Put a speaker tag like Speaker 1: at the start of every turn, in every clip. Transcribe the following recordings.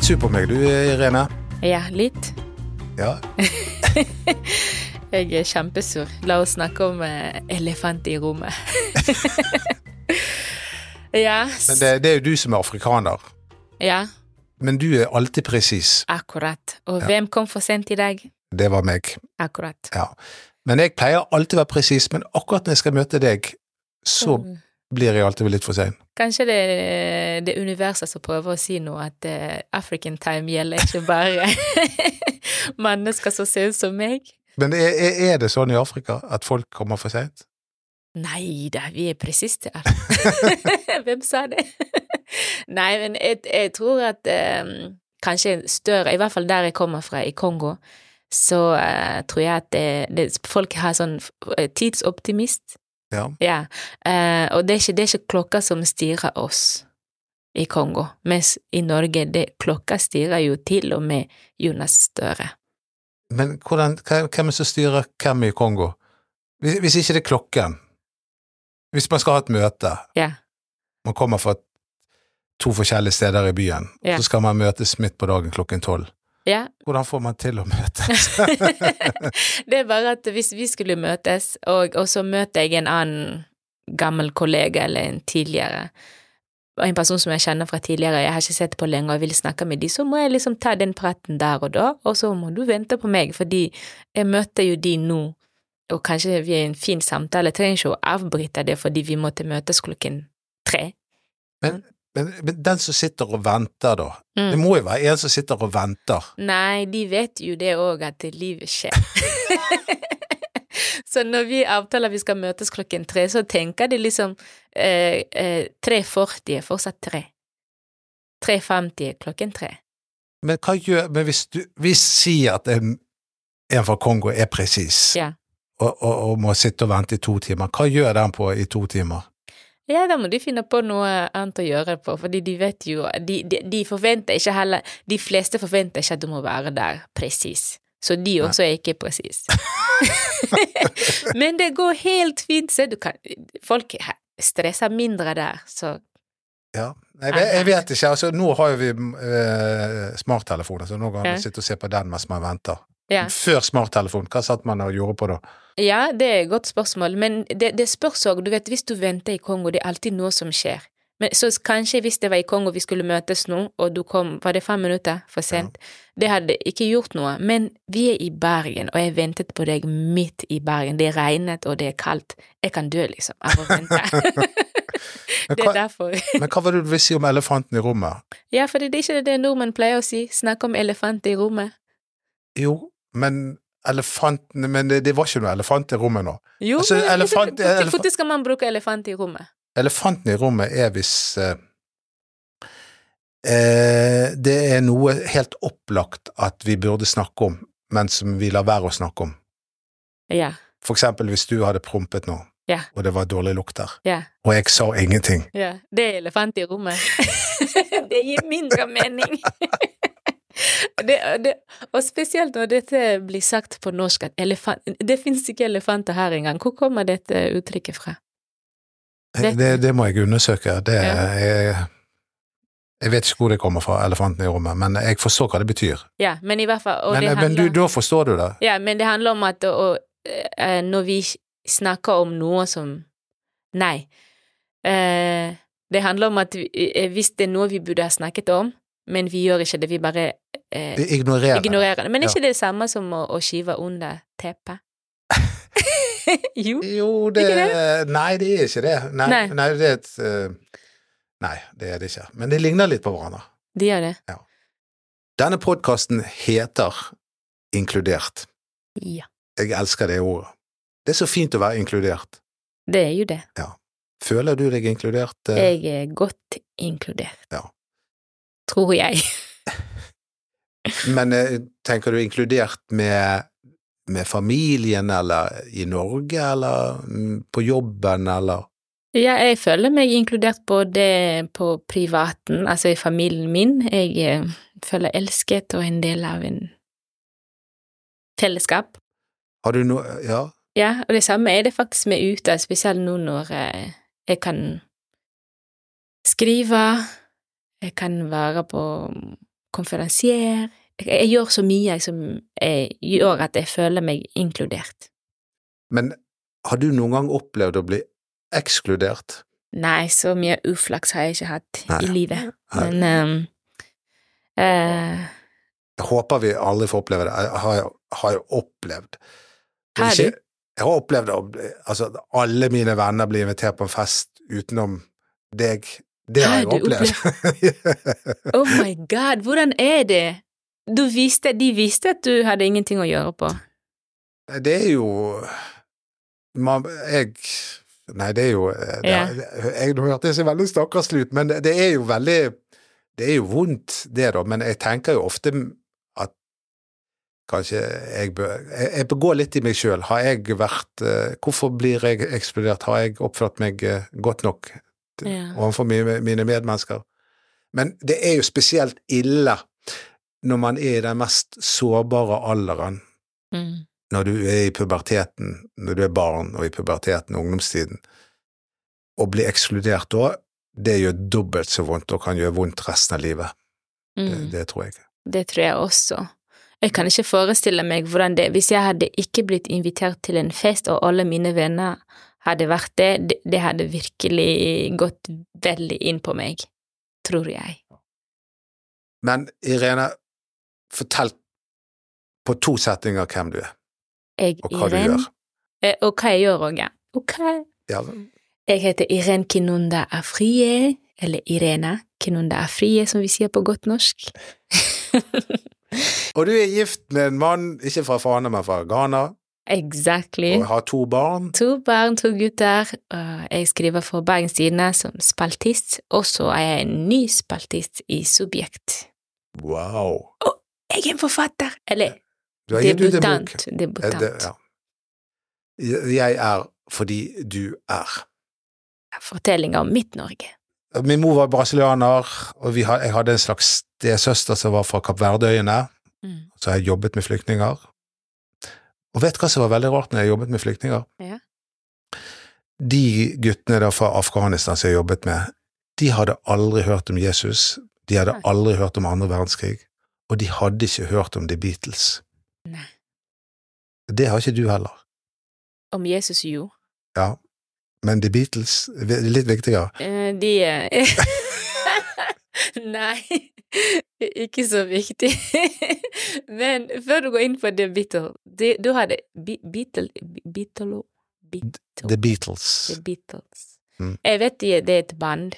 Speaker 1: sur på meg du, Irene.
Speaker 2: Ja, litt.
Speaker 1: Ja.
Speaker 2: Jeg er kjempesur. La oss snakke om eh, elefant i rommet. ja, s-
Speaker 1: Men det, det er jo du som er afrikaner.
Speaker 2: ja,
Speaker 1: Men du er alltid presis.
Speaker 2: akkurat. Og hvem kom for sent i dag?
Speaker 1: Det var meg.
Speaker 2: Akkurat.
Speaker 1: Ja. Men jeg pleier alltid å være presis, men akkurat når jeg skal møte deg, så
Speaker 2: Mm.
Speaker 1: blir jeg alltid litt for sein.
Speaker 2: Kanskje det er det universet som prøver å si noe, at eh, African time gjelder ikke bare mennesker som ser ut som meg.
Speaker 1: Men er, er- er det sånn i Afrika at folk kommer for seint?
Speaker 2: Nei da, vi er presis der. Hvem sa det? Nei, men jeg, jeg tror at eh, kanskje en større I hvert fall der jeg kommer fra, i Kongo, så eh, tror jeg at det, det, folk har sånn eh, tidsoptimist.
Speaker 1: Ja.
Speaker 2: Ja. Eh, og det er, ikke, det er ikke klokka som styrer oss i Kongo, mens i Norge det, klokka styrer jo til og med Jonas Støre.
Speaker 1: Men hvordan, hva- hvem er det som styrer hvem i Kongo? Hvis, hvis ikke det er klokken. Hvis man skal ha et møte,
Speaker 2: Ja.
Speaker 1: man kommer fra to forskjellige steder i byen,
Speaker 2: Ja.
Speaker 1: så skal man møtes midt på dagen klokken tolv.
Speaker 2: ja.
Speaker 1: Hvordan får man til å møtes?
Speaker 2: det er bare at hvis vi skulle møtes, og, og så møter jeg en annen gammel kollega eller en tidligere og en person som jeg kjenner fra tidligere, jeg har ikke sett på lenge og vil snakke med de, så må jeg liksom ta den praten der og da, og så må du vente på meg, fordi jeg møter jo de nå, og kanskje vi er en fin samtale, jeg trenger ikke å avbryte det fordi vi måtte møtes klokken tre.
Speaker 1: men, men den som sitter og venter, da.
Speaker 2: Mm.
Speaker 1: Det må jo være en som sitter og venter.
Speaker 2: Nei, de vet jo det òg, at livet skjer. så når vi avtaler vi skal møtes klokken tre, så tenker de liksom eh, eh, 3.40 er fortsatt tre. 3.50 er klokken tre.
Speaker 1: Men hva gjør Men hvis du Hvis sier at en, en fra Kongo er presis,
Speaker 2: Ja.
Speaker 1: og, og, og må sitte og vente i to timer, hva gjør den på i to timer?
Speaker 2: Ja, da må de finne på noe annet å gjøre på, fordi de vet jo De, de, de forventer ikke heller De fleste forventer ikke at du må være der presis. Så de også er ikke presis. Men det går helt fint, se. Du kan Folk stresser mindre der, så
Speaker 1: Ja. Jeg, vet- jeg vet ikke. altså Nå har jo vi eh, smarttelefoner, så nå kan man
Speaker 2: Ja.
Speaker 1: sitte og se på den mens man venter.
Speaker 2: Ja.
Speaker 1: Før smarttelefon, hva satt man og gjorde på da?
Speaker 2: Ja, det er et godt spørsmål, men det, det spørs òg, du vet, hvis du venter i Kongo, det er alltid noe som skjer. Men så s- kanskje hvis det var i Kongo vi skulle møtes nå, og du kom, var det fem minutter for sent? Det hadde ikke gjort noe, men vi er i Bergen, og jeg ventet på deg midt i Bergen. Det regnet, og det er kaldt. Jeg kan dø, liksom, av å vente.
Speaker 1: Men
Speaker 2: det er
Speaker 1: hva,
Speaker 2: derfor.
Speaker 1: men hva var det du ville si om elefanten i rommet?
Speaker 2: Ja, for det er ikke det nordmenn pleier å si, snakke om elefant i rommet.
Speaker 1: Jo, men elefanten Men det, det var ikke noe elefant i rommet nå.
Speaker 2: Jo,
Speaker 1: Altså,
Speaker 2: men-
Speaker 1: elefant- elefant-
Speaker 2: Hvorfor skal man bruke elefant i rommet?
Speaker 1: Elefanten i rommet er hvis eh, eh, det er noe helt opplagt at vi burde snakke om, men som vi lar være å snakke om.
Speaker 2: Ja,
Speaker 1: For eksempel hvis du hadde prompet nå,
Speaker 2: Ja.
Speaker 1: og det var dårlig lukt der,
Speaker 2: ja.
Speaker 1: og jeg sa ingenting.
Speaker 2: Ja, det er elefant i rommet. det gir mindre mening. det, det, og spesielt når dette blir sagt på norsk, at elefant Det fins ikke elefanter her engang. Hvor kommer dette uttrykket fra?
Speaker 1: Det,
Speaker 2: Det-
Speaker 1: det, må jeg undersøke. Det,
Speaker 2: Ja.
Speaker 1: jeg, jeg vet ikke hvor det kommer fra, elefanten i rommet, men jeg forstår hva det betyr.
Speaker 2: Ja, men i hvert fall og
Speaker 1: Men, eh,
Speaker 2: det
Speaker 1: men
Speaker 2: handler,
Speaker 1: du, da forstår du det.
Speaker 2: Ja, men det handler om at å- eh, når vi snakker om noe som Nei. Eh, det handler om at vi, eh, hvis det er noe vi burde ha snakket om, men vi gjør ikke det, vi bare eh,
Speaker 1: Ignorer det.
Speaker 2: Ignorerer det. Men er
Speaker 1: Ja.
Speaker 2: ikke det samme som å, å skive under teppet? jo.
Speaker 1: Jo, det,
Speaker 2: Ikke
Speaker 1: Nei, det er ikke det. Nei, nei.
Speaker 2: Nei.
Speaker 1: det er et eh, Nei, det er det ikke. Men de ligner litt på hverandre.
Speaker 2: De gjør det.
Speaker 1: Denne podkasten heter Inkludert.
Speaker 2: Ja.
Speaker 1: Jeg elsker det ordet. Det er så fint å være inkludert.
Speaker 2: Det er jo det.
Speaker 1: Føler du deg inkludert? eh?
Speaker 2: Jeg er godt inkludert.
Speaker 1: Ja.
Speaker 2: Tror jeg.
Speaker 1: Men eh, tenker du inkludert med, med familien, eller i Norge, eller mm, på jobben, eller
Speaker 2: Ja, jeg føler meg inkludert både på privaten, altså i familien min. Jeg eh, føler elsket og en del av en fellesskap.
Speaker 1: Har du noe Ja,
Speaker 2: Ja, og det samme er det faktisk med ute, spesielt nå når eh, jeg kan skrive, jeg kan være på konferansier. Jeg, jeg gjør så mye jeg, som eh, gjør at jeg føler meg inkludert.
Speaker 1: Men har du noen gang opplevd å bli ekskludert?
Speaker 2: Nei, så mye uflaks har jeg ikke hatt i
Speaker 1: Nei.
Speaker 2: livet.
Speaker 1: Nei.
Speaker 2: Men ehm, eh,
Speaker 1: Jeg håper vi aldri får oppleve det. Jeg har, jo- har jo opplevd Det er
Speaker 2: Har
Speaker 1: ikke-
Speaker 2: du?
Speaker 1: Jeg har opplevd å bli Altså, at alle mine venner blir invitert på en fest utenom deg. Det har
Speaker 2: Har
Speaker 1: jeg
Speaker 2: du
Speaker 1: opplevd.
Speaker 2: Oh my god, hvordan er det? Du visste, de visste at du hadde ingenting å gjøre på.
Speaker 1: Eh, det er jo man, Jeg Nei, det er jo eh, det,
Speaker 2: Ja.
Speaker 1: jeg, Nå hørtes jeg veldig stakkarslig ut, men det, det er jo veldig Det er jo vondt, det, da, men jeg tenker jo ofte at Kanskje jeg bør Jeg, jeg bør gå litt i meg sjøl. Har jeg vært eh, Hvorfor blir jeg eksplodert? Har jeg oppført meg eh, godt nok til-
Speaker 2: Ja.
Speaker 1: overfor mine, mine medmennesker? Men det er jo spesielt ille når man er i den mest sårbare alderen
Speaker 2: Mm.
Speaker 1: når du er i puberteten, når du er barn og i puberteten og ungdomstiden, å bli ekskludert da, det gjør dobbelt så vondt og kan gjøre vondt resten av livet. Det,
Speaker 2: Mm.
Speaker 1: det tror jeg.
Speaker 2: Det tror jeg også. Jeg kan ikke forestille meg hvordan det Hvis jeg hadde ikke blitt invitert til en fest, og alle mine venner hadde vært det, det, det hadde virkelig gått veldig inn på meg. Tror jeg.
Speaker 1: Men Irene, fortell på to setninger hvem du er,
Speaker 2: jeg
Speaker 1: og hva du gjør.
Speaker 2: Eh, Og hva jeg gjør òg, ja. Ok.
Speaker 1: Ja,
Speaker 2: Jeg heter Irene Kinunda Afrie, eller Irena Kinunda Afrie, som vi sier på godt norsk.
Speaker 1: og du er gift med en mann, ikke fra Fana, men fra Ghana,
Speaker 2: Exactly.
Speaker 1: og har to barn.
Speaker 2: To barn, to gutter. og Jeg skriver for Bergens Tidende som spaltist, og så er jeg en ny spaltist i Subjekt.
Speaker 1: Wow.
Speaker 2: Jeg er en forfatter! Eller
Speaker 1: Du har gitt ut en bok.
Speaker 2: debutant. Debutant.
Speaker 1: Eh, det- ja. Jeg er fordi du er.
Speaker 2: Fortellinger om mitt Norge.
Speaker 1: Min mor var brasilianer, og vi ha- jeg hadde en slags stesøster som var fra Kapp Verdøyene,
Speaker 2: Mm.
Speaker 1: så jeg jobbet med flyktninger. Og vet du hva som var veldig rart når jeg jobbet med flyktninger?
Speaker 2: Ja.
Speaker 1: De guttene da fra Afghanistan som jeg jobbet med, de hadde aldri hørt om Jesus, de hadde
Speaker 2: Nei.
Speaker 1: aldri hørt om andre verdenskrig, og de hadde ikke hørt om The Beatles.
Speaker 2: Nei.
Speaker 1: Det har ikke du heller.
Speaker 2: Om Jesus, jo.
Speaker 1: Ja, men The Beatles det er litt viktigere.
Speaker 2: Eh, De eh, Nei, ikke så viktig. Men før du går inn på The Beatles de- Du hadde Be- Beatle... Beatle... Beatle...
Speaker 1: The Beatles.
Speaker 2: The Beatles.
Speaker 1: Mm.
Speaker 2: Jeg vet de, det er et band,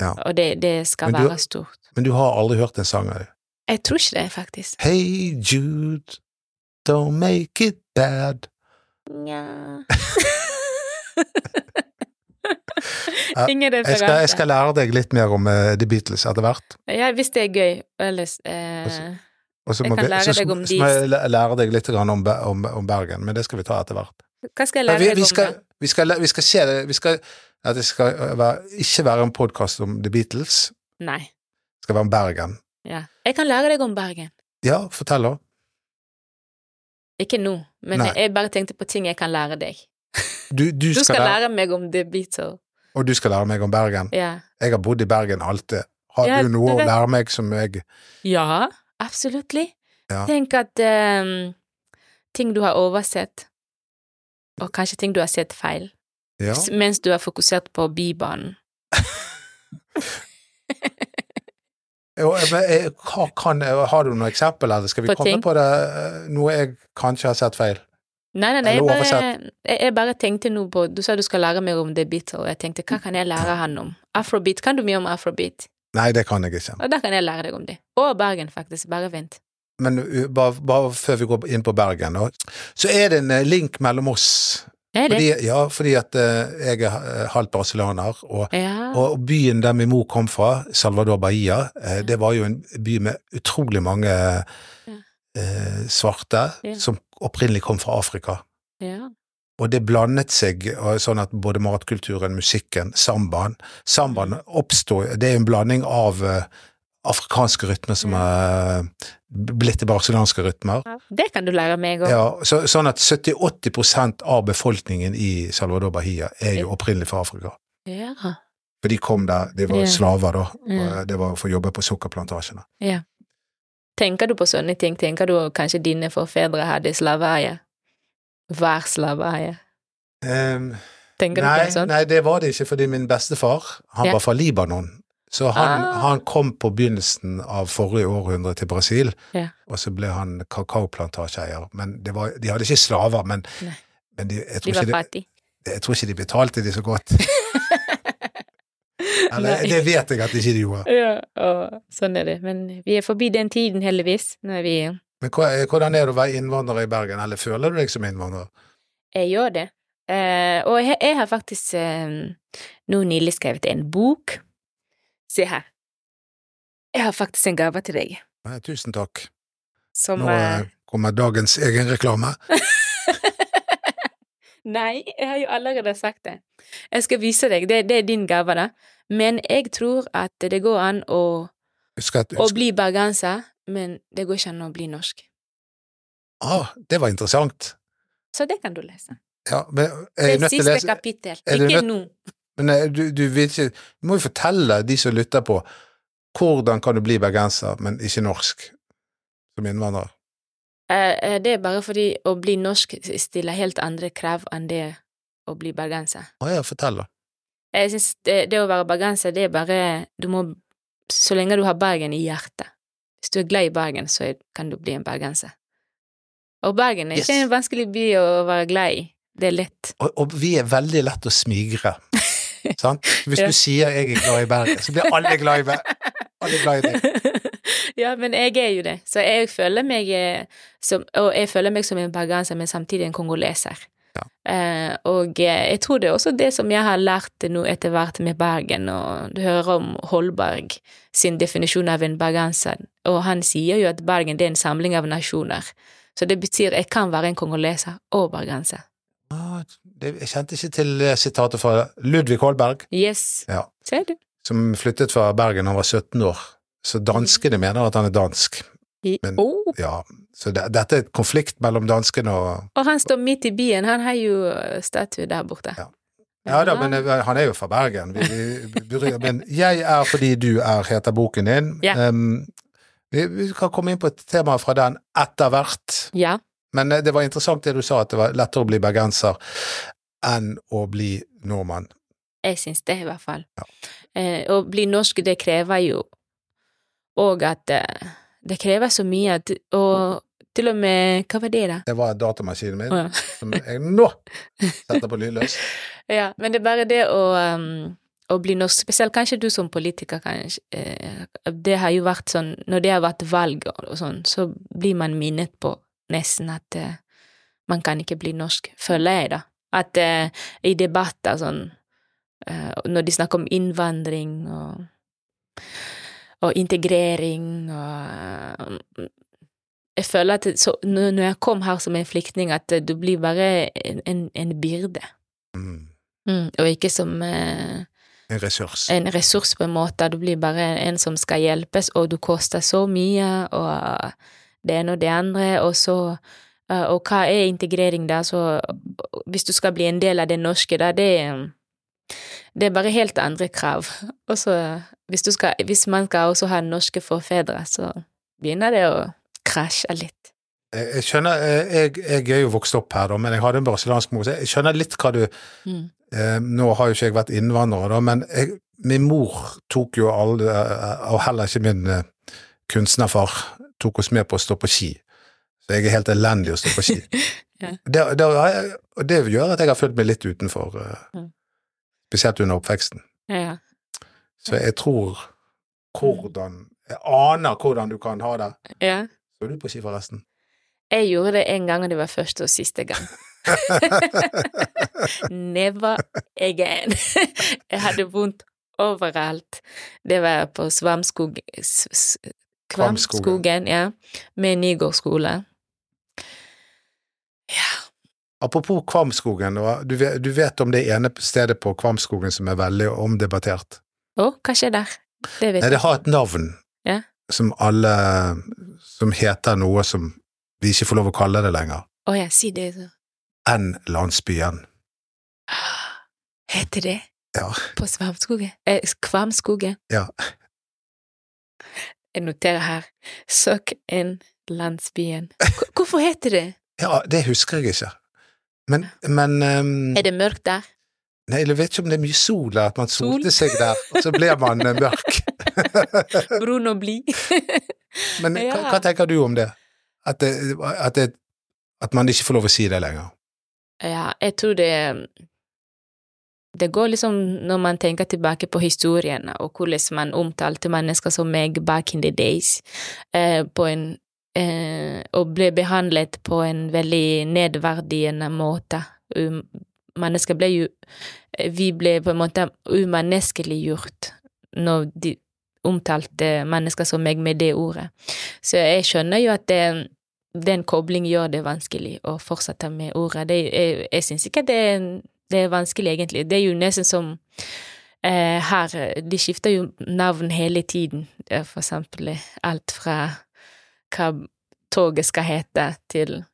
Speaker 1: Ja.
Speaker 2: og det, det skal
Speaker 1: Men du-
Speaker 2: være stort.
Speaker 1: Men du har aldri hørt en sang av dem.
Speaker 2: Jeg tror ikke det, faktisk.
Speaker 1: Hey Jude, don't make it bad.
Speaker 2: Nja
Speaker 1: Ja,
Speaker 2: Ingen
Speaker 1: Jeg skal, jeg
Speaker 2: referanse.
Speaker 1: skal lære deg litt mer om eh, The Beatles etter hvert.
Speaker 2: Ja, hvis det er gøy, ellers eh,
Speaker 1: Og så
Speaker 2: Jeg
Speaker 1: må
Speaker 2: kan
Speaker 1: vi-
Speaker 2: lære
Speaker 1: så skal-
Speaker 2: deg om
Speaker 1: så må jeg læ- lære deg litt grann om, Be- om, om Bergen, men det skal vi ta etter hvert.
Speaker 2: Hva skal jeg
Speaker 1: Men
Speaker 2: lære
Speaker 1: vi,
Speaker 2: deg
Speaker 1: vi,
Speaker 2: om,
Speaker 1: skal,
Speaker 2: da?
Speaker 1: vi, skal, læ- vi skal se det vi skal, At det skal eh, være, ikke være en podkast om The Beatles,
Speaker 2: Nei.
Speaker 1: det skal være om Bergen.
Speaker 2: Ja. Jeg kan lære deg om Bergen.
Speaker 1: Ja, fortell, da.
Speaker 2: Ikke nå, men
Speaker 1: Nei.
Speaker 2: jeg bare tenkte på ting jeg kan lære deg.
Speaker 1: Du, du,
Speaker 2: Du
Speaker 1: skal,
Speaker 2: skal
Speaker 1: lære,
Speaker 2: lære meg om The Beatles.
Speaker 1: og du skal lære meg om Bergen.
Speaker 2: Ja.
Speaker 1: Jeg har bodd i Bergen alltid. Har
Speaker 2: Ja,
Speaker 1: du noe
Speaker 2: det
Speaker 1: å
Speaker 2: vet-
Speaker 1: lære meg som jeg
Speaker 2: Ja, absolutely.
Speaker 1: Ja.
Speaker 2: Tenk at ehm, ting du har oversett, og kanskje ting du har sett feil,
Speaker 1: Ja.
Speaker 2: s- mens du har fokusert på Bybanen.
Speaker 1: Jo, men jeg, hva kan, har du noen eksempel, eller skal vi
Speaker 2: På
Speaker 1: komme
Speaker 2: ting?
Speaker 1: på det, eh, noe jeg kanskje har sett feil?
Speaker 2: Nei, nei, nei, jeg
Speaker 1: Eller
Speaker 2: bare,
Speaker 1: oversett.
Speaker 2: jeg, jeg bare tenkte nå på Du sa du skal lære meg om The Beatles, og jeg tenkte hva kan jeg lære han om? Afrobeat. Kan du mye om afrobeat?
Speaker 1: Nei, det kan jeg ikke.
Speaker 2: Og da kan jeg lære deg om det. Og Bergen, faktisk. Bare vent.
Speaker 1: Men uh, bare, bare før vi går inn på Bergen, nå, så er det en eh, link mellom oss.
Speaker 2: Er det?
Speaker 1: Fordi, ja, fordi at eh, jeg er eh, halvt brasilianer, og,
Speaker 2: ja.
Speaker 1: og byen der min mor kom fra, Salvador Bahia, eh, det var jo en by med utrolig mange
Speaker 2: Ja.
Speaker 1: eh, svarte
Speaker 2: Ja.
Speaker 1: som opprinnelig kom fra Afrika.
Speaker 2: ja.
Speaker 1: Og det blandet seg og sånn at både matkulturen, musikken, sambaen Sambaen
Speaker 2: Mm.
Speaker 1: oppstod Det er en blanding av eh, afrikanske rytmer
Speaker 2: Mm.
Speaker 1: som er blitt til barcelonske rytmer.
Speaker 2: Det kan du lære meg òg.
Speaker 1: Ja, så, sånn at 70-80 av befolkningen i Salvador Bahia er jo opprinnelig fra Afrika.
Speaker 2: Ja.
Speaker 1: For de kom der, de var
Speaker 2: Ja.
Speaker 1: slaver da, eh,
Speaker 2: Ja.
Speaker 1: og det var for å jobbe på sukkerplantasjene.
Speaker 2: Ja. Tenker du på sånne ting? Tenker du kanskje dine forfedre hadde slaveeie? Hver slaveeie?
Speaker 1: Ehm,
Speaker 2: Tenker du
Speaker 1: nei,
Speaker 2: på sånn?
Speaker 1: nei, det var det ikke, fordi min bestefar han
Speaker 2: Ja.
Speaker 1: var fra Libanon. Så han,
Speaker 2: Ah.
Speaker 1: han kom på begynnelsen av forrige århundre til Brasil,
Speaker 2: Ja.
Speaker 1: og så ble han kakaoplantasjeeier. Men det var, de hadde ikke slaver, men,
Speaker 2: Nei.
Speaker 1: men de, jeg,
Speaker 2: De
Speaker 1: tror
Speaker 2: var
Speaker 1: ikke de,
Speaker 2: fattige.
Speaker 1: jeg tror ikke de betalte de så godt. Eller
Speaker 2: Nei.
Speaker 1: det vet jeg at ikke de gjorde.
Speaker 2: Ja, og sånn er det. Men vi er forbi den tiden, heldigvis. Når vi
Speaker 1: Men hva- hvordan er det å være innvandrer i Bergen, eller føler du deg som innvandrer?
Speaker 2: Jeg gjør det. Eh, og jeg, jeg har faktisk eh, nå nylig skrevet en bok. Se her. Jeg har faktisk en gave til deg.
Speaker 1: Nei, tusen takk.
Speaker 2: Som
Speaker 1: Nå
Speaker 2: eh,
Speaker 1: eh, kommer dagens egen reklame.
Speaker 2: Nei, jeg har jo allerede sagt det. Jeg skal vise deg. Det, det er din gave, da. Men jeg tror at det går an å,
Speaker 1: Husk at
Speaker 2: å
Speaker 1: husk,
Speaker 2: bli bergenser, men det går ikke an å bli norsk.
Speaker 1: ah, Det var interessant.
Speaker 2: Så det kan du lese.
Speaker 1: Ja, men eh, jeg
Speaker 2: Det
Speaker 1: er nødt til å
Speaker 2: siste
Speaker 1: lese
Speaker 2: kapittel.
Speaker 1: er du
Speaker 2: Ikke
Speaker 1: nødt-
Speaker 2: nå.
Speaker 1: men eh, du, du, vil ikke, du må jo fortelle de som lytter på, hvordan kan du bli bergenser, men ikke norsk som innvandrer?
Speaker 2: Eh, eh, Det er bare fordi å bli norsk stiller helt andre krav enn det å bli bergenser.
Speaker 1: Å ja, fortell, da.
Speaker 2: Jeg synes det, det å være bergenser, det er bare Du må Så lenge du har Bergen i hjertet. Hvis du er glad i Bergen, så er- kan du bli en bergenser. Og Bergen er ikke
Speaker 1: Yes.
Speaker 2: en vanskelig by å være glad i. Det er lett.
Speaker 1: Og, og vi er veldig lett å smigre. sant? Hvis
Speaker 2: Ja.
Speaker 1: du sier 'jeg er glad i Bergen', så blir alle glad i Bergen. Alle glad i deg.
Speaker 2: ja, men jeg er jo det. Så jeg føler meg eh, som Og jeg føler meg som en bergenser, men samtidig en kongoleser. Eh, og eh, jeg tror det er også det som jeg har lært nå etter hvert med Bergen, og du hører om Holberg sin definisjon av en bergenser, og han sier jo at Bergen det er en samling av nasjoner. Så det betyr jeg kan være en kongoleser og bergenser.
Speaker 1: Ah, det, jeg kjente ikke til eh, sitatet fra Ludvig Holberg,
Speaker 2: Yes.
Speaker 1: Ja.
Speaker 2: Ser du?
Speaker 1: som flyttet fra Bergen da han var 17 år. Så danskene mener at han er dansk.
Speaker 2: I,
Speaker 1: Men-
Speaker 2: oh.
Speaker 1: Ja, så det, dette er et konflikt mellom danskene og
Speaker 2: Og han står midt i byen, han har jo eh, statue der borte.
Speaker 1: Ja. Ja da, men eh, han er jo fra Bergen. Vi, vi, bryr- men 'Jeg er fordi du er' heter boken din.
Speaker 2: Ja.
Speaker 1: Em, vi, vi kan komme inn på et tema fra den etter hvert.
Speaker 2: Ja.
Speaker 1: Men eh, det var interessant det du sa, at det var lettere å bli bergenser enn å bli nordmann.
Speaker 2: Jeg syns det, i hvert fall. Eh, å bli norsk, det krever jo Og at eh, det krever så mye at Og til og med Hva var det, da?
Speaker 1: Det var datamaskinen min,
Speaker 2: Å, ja.
Speaker 1: som jeg nå setter på lydløs.
Speaker 2: Ja, men det er bare det å, um, å bli norsk, spesielt kanskje du som politiker, kanskje. eh, Det har jo vært sånn, når det har vært valg og og sånn, så blir man minnet på nesten at eh, man kan ikke bli norsk, føler jeg da. At eh, i debatter sånn, eh, når de snakker om innvandring og, og integrering og eh, Jeg føler at det- så, når når jeg kom her som en flyktning, at eh, du blir bare en, en, en byrde.
Speaker 1: Mm,
Speaker 2: Mm, og ikke som eh,
Speaker 1: en ressurs.
Speaker 2: en ressurs, på en måte. Du blir bare en som skal hjelpes, og du koster så mye, og det ene og det andre, og så eh, Og hva er integrering, da? Så hvis du skal bli en del av det norske, da, det er det er bare helt andre krav. Og så, hvis, du skal, hvis man skal også ha norske forfedre, så begynner det å krasje litt.
Speaker 1: Jeg, jeg skjønner, eh, jeg, jeg er jo vokst opp her, da, men jeg hadde en brasiliansk mor, så jeg skjønner litt hva du
Speaker 2: Mm.
Speaker 1: Eh, nå har jo ikke jeg vært innvandrer, da, men jeg, min mor tok jo alle, eh, og heller ikke min eh, kunstnerfar, tok oss med på å stå på ski. Så jeg er helt elendig å stå på ski.
Speaker 2: Ja.
Speaker 1: det, det, har jeg- og det gjør at jeg har følt meg litt utenfor, eh,
Speaker 2: Mm.
Speaker 1: spesielt under oppveksten.
Speaker 2: Ja.
Speaker 1: Så jeg tror hvordan Jeg aner hvordan du kan ha det.
Speaker 2: ja.
Speaker 1: Står du på ski, forresten?
Speaker 2: Jeg gjorde det en gang, og det var første og siste gang. Never again. Jeg hadde vondt overalt. Det var på Svamskog... s- s-
Speaker 1: Kvamskogen.
Speaker 2: Kvamskogen, ja. Med Nygård skole.
Speaker 1: Apropos Kvamskogen, og du vet, du vet om det ene stedet på Kvamskogen som er veldig omdebattert?
Speaker 2: Å, hva skjer der? Det vet
Speaker 1: Nei,
Speaker 2: jeg
Speaker 1: det har et navn
Speaker 2: Ja.
Speaker 1: som alle Som heter noe som vi ikke får lov å kalle det lenger,
Speaker 2: Å ja, si det. så.
Speaker 1: enn landsbyen.
Speaker 2: Heter det
Speaker 1: Ja.
Speaker 2: på Svamskogen? Eh, Kvamskogen?
Speaker 1: Ja.
Speaker 2: Jeg noterer her. Søk inn landsbyen. Hvor- Hvorfor heter det
Speaker 1: Ja, det husker jeg ikke. Men, men ehm,
Speaker 2: Er det mørkt der?
Speaker 1: Nei, jeg vet ikke om det er mye sol der, at man
Speaker 2: Sol?
Speaker 1: solte seg der, og så blir man eh, mørk.
Speaker 2: Brun og blid?
Speaker 1: Men hva,
Speaker 2: Ja.
Speaker 1: hva tenker du om det? At, det, at, det, at man ikke får lov å si det lenger?
Speaker 2: Ja, jeg tror det Det går liksom når man tenker tilbake på historien, og hvordan man omtalte mennesker som meg back in the days, eh, på en eh, Og ble behandlet på en veldig nedverdigende måte. Um, mennesker ble jo Vi ble på en måte umenneskeliggjort når de omtalte mennesker som meg med det ordet. Så jeg skjønner jo at det den kobling gjør det vanskelig å fortsette med ordet. Det, jeg jeg syns ikke det er, det er vanskelig, egentlig. Det er jo nesten som eh, her De skifter jo navn hele tiden. Eh, For eksempel eh, alt fra hva toget skal hete, til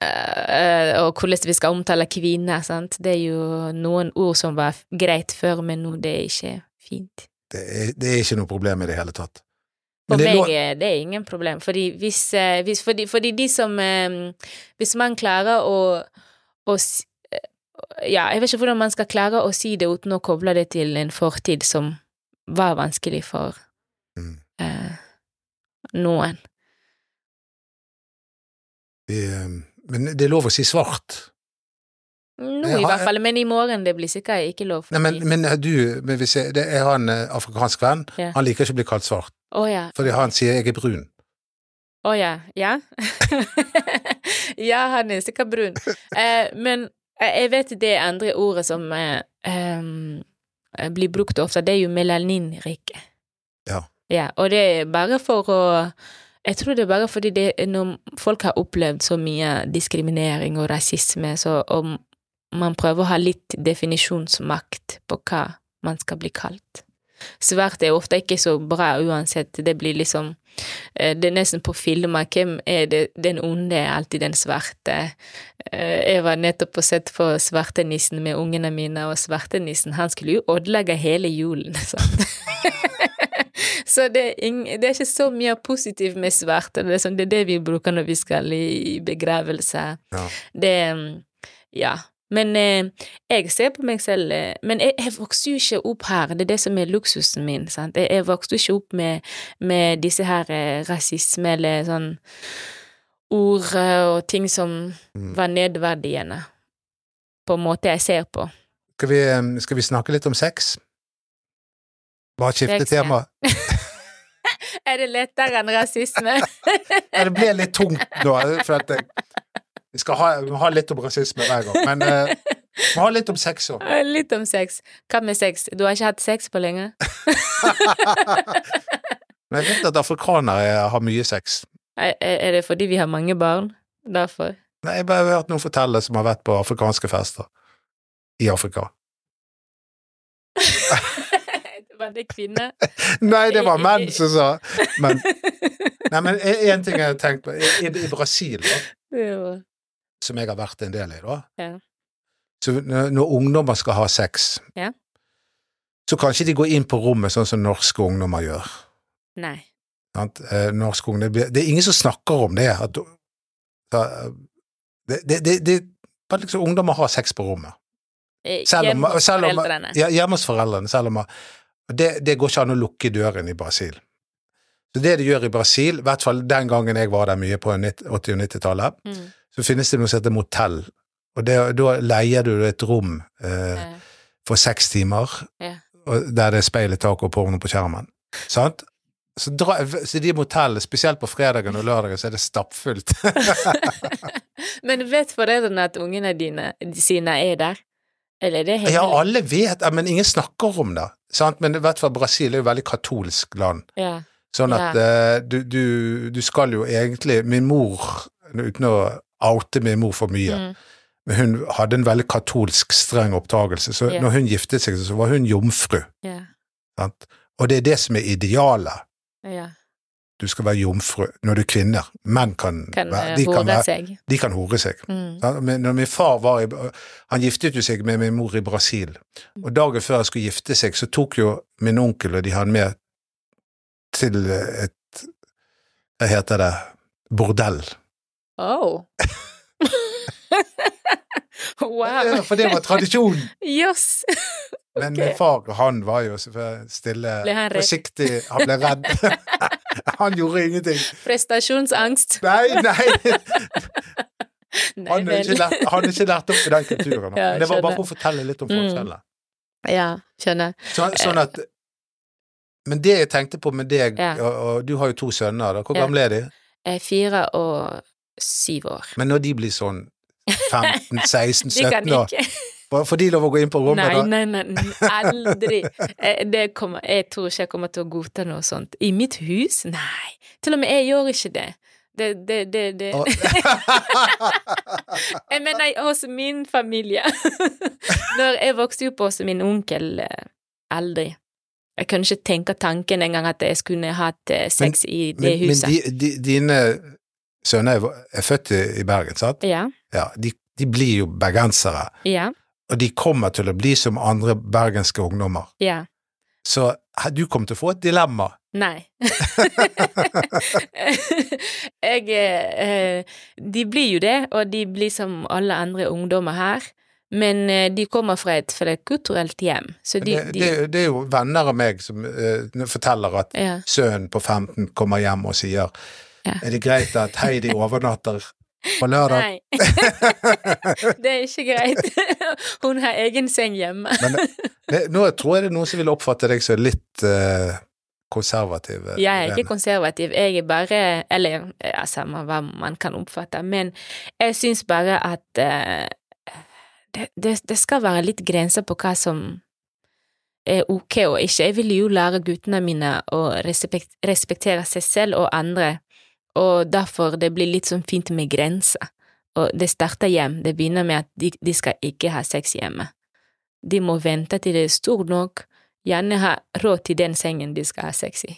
Speaker 2: eh, eh, Og hvordan vi skal omtale kvinner, sant. Det er jo noen ord som var f- greit før, men nå det er ikke fint.
Speaker 1: Det er, det er ikke noe problem i det hele tatt.
Speaker 2: For
Speaker 1: Men det er
Speaker 2: meg
Speaker 1: lov-
Speaker 2: er det er ingen problem. Fordi hvis, eh, hvis fordi, fordi de som eh, Hvis man klarer å, å s- eh, Ja, jeg vet ikke hvordan man skal klare å si det uten å koble det til en fortid som var vanskelig for
Speaker 1: Mm.
Speaker 2: eh, noen.
Speaker 1: Vi, ehm, men det er lov å si svart.
Speaker 2: Nå
Speaker 1: Jeg
Speaker 2: i
Speaker 1: har-
Speaker 2: hvert fall, men i morgen det blir sikkert ikke lov.
Speaker 1: Nei, men,
Speaker 2: fordi-
Speaker 1: men eh, du, men hvis jeg, det, jeg har en eh, afrikansk venn,
Speaker 2: Ja.
Speaker 1: han liker ikke å bli kalt svart,
Speaker 2: Å ja.
Speaker 1: fordi han sier jeg er brun.
Speaker 2: Å ja. Ja? ja, han er sikkert brun. Eh, men eh, jeg vet det andre ordet som eh, em, eh, blir brukt ofte, det er jo melaninrike.
Speaker 1: Ja.
Speaker 2: ja. Og det er bare for å Jeg tror det er bare fordi det, når folk har opplevd så mye diskriminering og rasisme, så om man prøver å ha litt definisjonsmakt på hva man skal bli kalt. Svart er ofte ikke så bra uansett, det blir liksom Eh, Det er nesten på filmer. Hvem er det? Den onde er alltid den svarte. Eh, Jeg var nettopp og sett på Svartenissen med ungene mine, og Svartenissen han skulle jo ødelegge hele julen. sant? så det er, ing, det er ikke så mye positivt med svarte. Det er, sånn, det er det vi bruker når vi skal i begravelser.
Speaker 1: Ja.
Speaker 2: Det mm, Ja. Men eh, jeg ser på meg selv eh, Men jeg, jeg vokste jo ikke opp her. Det er det som er luksusen min. sant? Jeg, jeg vokste jo ikke opp med, med disse her eh, rasisme eller sånn ord eh, og ting som
Speaker 1: Mm.
Speaker 2: var nedverdigende. På en måte jeg ser på.
Speaker 1: Skal vi, ehm, skal vi snakke litt om sex? Bare skifte
Speaker 2: Sex, ja.
Speaker 1: tema.
Speaker 2: Er det lettere enn rasisme?
Speaker 1: Ja, det ble litt tungt nå, for at jeg, vi skal ha, vi må ha litt om rasisme hver gang, men eh, vi må ha litt om sex òg.
Speaker 2: Litt om sex. Hva med sex? Du har ikke hatt sex på lenge?
Speaker 1: Men jeg vet at afrikanere har mye sex.
Speaker 2: Er, er er det fordi vi har mange barn? Derfor?
Speaker 1: Nei, jeg bare har hørt noen fortelle som har vært på afrikanske fester i Afrika.
Speaker 2: Var det kvinner?
Speaker 1: Nei, det var menn som sa men, Nei, men én ting jeg har tenkt på. I, i- i Brasil, da,
Speaker 2: Det var-
Speaker 1: som jeg har vært en del i, da
Speaker 2: Ja.
Speaker 1: Så når når ungdommer skal ha sex,
Speaker 2: Ja.
Speaker 1: så kan ikke de gå inn på rommet sånn som norske ungdommer gjør.
Speaker 2: Nei.
Speaker 1: Sant? Eh, Norsk ungdom det blir- Det er ingen som snakker om det. At, så, eh, det, det, det, det bare liksom, ungdommer har sex på rommet.
Speaker 2: Eh,
Speaker 1: Selv om,
Speaker 2: hjemme hos
Speaker 1: selv om,
Speaker 2: foreldrene.
Speaker 1: ja, hjemme hos foreldrene. Selv om, og det, det går ikke an å lukke døren i Brasil. Så det de gjør i Brasil, i hvert fall den gangen jeg var der mye på nitt- 80- og 90-tallet,
Speaker 2: Mm,
Speaker 1: så finnes det noe som heter motell. Og det, da leier du et rom eh,
Speaker 2: eh,
Speaker 1: for seks timer,
Speaker 2: Ja.
Speaker 1: og der det er speil i taket og porno på skjermen. Sant? Så, dra, så de motellene, spesielt på fredagen og lørdagen, så er det stappfullt.
Speaker 2: Men vet foreldrene at ungene dine sine er der? Eller er det helt
Speaker 1: ja, alle vet, ja, men ingen snakker om det. Sant? Men i hvert fall Brasil er jo et veldig katolsk land.
Speaker 2: ja.
Speaker 1: Sånn at eh, du, du, du skal jo egentlig Min mor, uten å oute min mor for mye,
Speaker 2: Mm.
Speaker 1: men hun hadde en veldig katolsk, streng oppdragelse. Så
Speaker 2: Ja.
Speaker 1: når hun giftet seg, så var hun jomfru.
Speaker 2: ja.
Speaker 1: Sant? Og det er det som er idealet.
Speaker 2: Ja.
Speaker 1: du skal være jomfru når du er kvinne. Menn kan,
Speaker 2: Kan
Speaker 1: være,
Speaker 2: eh,
Speaker 1: de, kan
Speaker 2: hore
Speaker 1: være,
Speaker 2: seg.
Speaker 1: de kan hore seg.
Speaker 2: Mm.
Speaker 1: Ja, Men når min far var i, Han giftet jo seg med min mor i
Speaker 2: Mm.
Speaker 1: Brasil, og dagen før han skulle gifte seg, så tok jo min onkel og de han med til eh, et Hva heter det? Bordell.
Speaker 2: Oh.
Speaker 1: Ja,
Speaker 2: wow.
Speaker 1: For det var tradisjon.
Speaker 2: Jøss.
Speaker 1: Men
Speaker 2: Ok.
Speaker 1: min far, han var jo så stille,
Speaker 2: Ble han redd?
Speaker 1: forsiktig, han ble redd. han gjorde ingenting.
Speaker 2: Prestasjonsangst.
Speaker 1: Nei, nei,
Speaker 2: Nei
Speaker 1: han er
Speaker 2: vel.
Speaker 1: ikke lært, han er ikke lært opp i den kulturen.
Speaker 2: Ja,
Speaker 1: Men det var bare
Speaker 2: skjønner.
Speaker 1: for å fortelle litt om
Speaker 2: Mm.
Speaker 1: forskjellene.
Speaker 2: Ja, skjønner.
Speaker 1: Så, sånn at Men det jeg tenkte på med deg,
Speaker 2: Ja.
Speaker 1: og, og du har jo to sønner, da. Hvor
Speaker 2: Ja.
Speaker 1: gamle er de?
Speaker 2: Jeg er fire og syv år.
Speaker 1: Men når de blir sånn 15-16-17
Speaker 2: De kan
Speaker 1: år,
Speaker 2: ikke
Speaker 1: får de lov å gå inn på rommet
Speaker 2: Nei,
Speaker 1: da?
Speaker 2: nei, nei, nei, aldri. Eh, Det kommer, jeg tror ikke jeg kommer til å godta noe sånt. I mitt hus? Nei. Til og med jeg gjør ikke det. Det, det, det, det.
Speaker 1: Og-
Speaker 2: Jeg mener hos min familie. Når jeg vokste opp hos min onkel, eh, aldri. Jeg kunne ikke tenke tanken engang at jeg skulle hatt eh, sex i det
Speaker 1: men men
Speaker 2: huset.
Speaker 1: de, de, dine sønner er, er født i i Bergen, sant?
Speaker 2: Ja,
Speaker 1: Ja, de, de blir jo bergensere.
Speaker 2: ja,
Speaker 1: Og de kommer til å bli som andre bergenske ungdommer.
Speaker 2: ja.
Speaker 1: Så he- du kommer til å få et dilemma.
Speaker 2: Nei. jeg eh, eh, De blir jo det, og de blir som alle andre ungdommer her. Men eh, de kommer fra et flerkulturelt hjem, så de,
Speaker 1: det,
Speaker 2: de
Speaker 1: det, det er jo venner av meg som eh, forteller at
Speaker 2: ja.
Speaker 1: sønnen på 15 kommer hjem og sier
Speaker 2: Ja.
Speaker 1: er det greit at Heidi overnatter på lørdag?
Speaker 2: Nei. det er ikke greit. Hun har egen seng hjemme.
Speaker 1: Men det, Eh, nå tror jeg det er noen som vil oppfatte deg som litt eh, konservativ. eh,
Speaker 2: Jeg er
Speaker 1: Irene.
Speaker 2: ikke konservativ, jeg er bare Eller ja, samme hva man kan oppfatte, men jeg syns bare at eh, det, det, det skal være litt grenser på hva som er ok og ikke. Jeg vil jo lære guttene mine å respekt, respektere seg selv og andre, og derfor det blir litt sånn fint med grenser. Og det starter hjem, det begynner med at de, de skal ikke ha sex hjemme. De må vente til det er stort nok, gjerne ha råd til den sengen de skal ha sex i.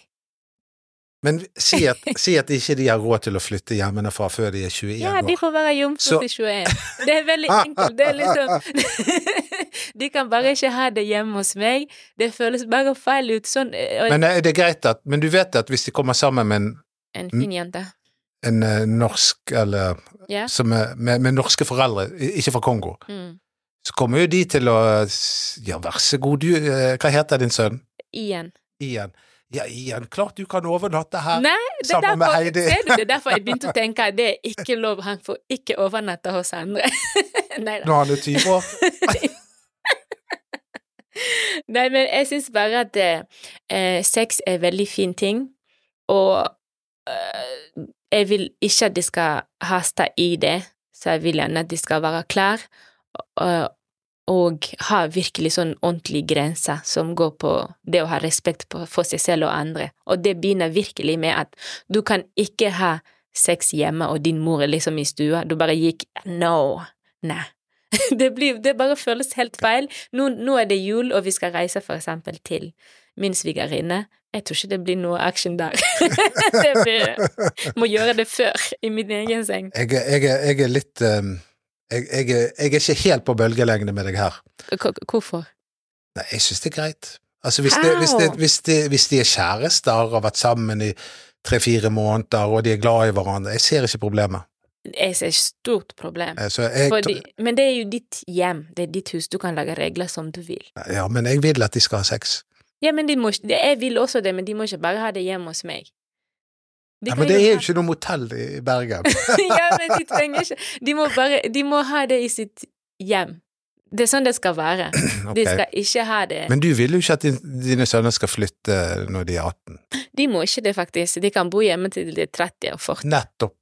Speaker 1: Men si at, si at ikke de har råd til å flytte hjemmefra før de er 21
Speaker 2: Ja, de
Speaker 1: år.
Speaker 2: får være jomfru
Speaker 1: Så-
Speaker 2: til 21. Det er veldig enkelt. Det er liksom De kan bare ikke ha det hjemme hos meg. Det føles bare feil ut. Sånn eh, og
Speaker 1: Men eh, det er greit at Men du vet at hvis de kommer sammen med en,
Speaker 2: En fin jente.
Speaker 1: en eh, norsk eller
Speaker 2: Ja.
Speaker 1: som er, med, med norske foreldre, i- ikke fra Kongo,
Speaker 2: Mm.
Speaker 1: så kommer jo de til å s- Ja, vær så god, du eh, Hva heter din sønn?
Speaker 2: Igjen.
Speaker 1: Ian. Ja, Ian, klart du kan overnatte her
Speaker 2: Nei, det er
Speaker 1: sammen med
Speaker 2: derfor,
Speaker 1: Heidi.
Speaker 2: ser du, det er derfor jeg begynte å tenke at det er ikke lov. Han får ikke overnatte hos andre. Nei da.
Speaker 1: når han er 20 år.
Speaker 2: Nei, men jeg syns bare at eh, sex er en veldig fin ting, og eh, jeg vil ikke at de skal haste i det, så jeg vil gjerne at de skal være klar og, og ha virkelig sånn ordentlig grense som går på det å ha respekt på, for seg selv og andre. Og det begynner virkelig med at du kan ikke ha sex hjemme, og din mor er liksom i stua. Du bare gikk No. Nei. Det, blir, det bare føles helt feil. Nå, nå er det jul, og vi skal reise for eksempel til min svigerinne. Jeg tror ikke det blir noe action der. det blir, må gjøre det før, i min egen seng.
Speaker 1: Jeg, er- jeg, er- jeg er litt ehm, jeg, jeg, er- jeg er ikke helt på bølgelengde med deg her.
Speaker 2: K- k- Hvorfor?
Speaker 1: Nei, jeg syns det er greit. Altså, hvis, det, hvis, det,
Speaker 2: Wow.
Speaker 1: hvis, det, hvis de er kjærester og har vært sammen i tre-fire måneder, og de er glad i hverandre, jeg ser ikke problemet.
Speaker 2: Jeg ser et stort problem.
Speaker 1: Eh, Så jeg,
Speaker 2: Fordi, men det er jo ditt hjem, det er ditt hus, du kan lage regler som du vil.
Speaker 1: ja, men jeg vil at de skal ha sex.
Speaker 2: Ja, men de må, ikke- jeg vil også det, men de må ikke bare ha det hjemme hos meg. De
Speaker 1: Nei,
Speaker 2: kan
Speaker 1: men det
Speaker 2: jo
Speaker 1: er
Speaker 2: ha-
Speaker 1: jo ikke noe motell i Bergen.
Speaker 2: ja, men de trenger ikke De må bare De må ha det i sitt hjem. Det er sånn det skal være. De
Speaker 1: Ok.
Speaker 2: skal ikke ha det
Speaker 1: Men du vil jo ikke at din, dine sønner skal flytte når de er 18.
Speaker 2: De må ikke det, faktisk. De kan bo hjemme til de er 30 og 40.
Speaker 1: Nettopp.